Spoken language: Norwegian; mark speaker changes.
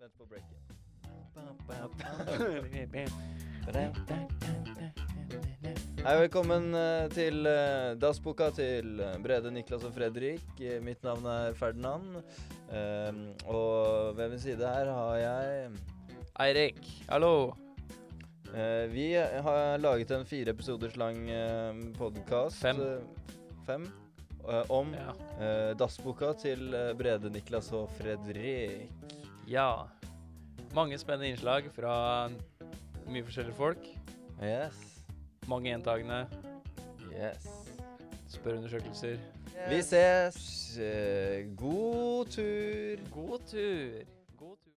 Speaker 1: Vent på breaket. Hei, velkommen eh, til eh, Dassboka til eh, Brede, Niklas og Fredrik. Eh, Mitt navn er Ferdinand. Ehm, og ved min side her har jeg
Speaker 2: Eirik, hallo.
Speaker 1: Eh, Vi har laget en fire episoders lang uh, podkast.
Speaker 2: Fem.
Speaker 1: fem. eh, om
Speaker 2: Ja.
Speaker 1: eh, dassboka til eh, Brede, Niklas og Fredrik.
Speaker 2: ja. Mange spennende innslag fra mye forskjellige folk.
Speaker 1: Yes.
Speaker 2: Mange gjentagende
Speaker 1: Yes.
Speaker 2: spørreundersøkelser.
Speaker 1: Vi ses. Eh, God tur.
Speaker 2: God tur.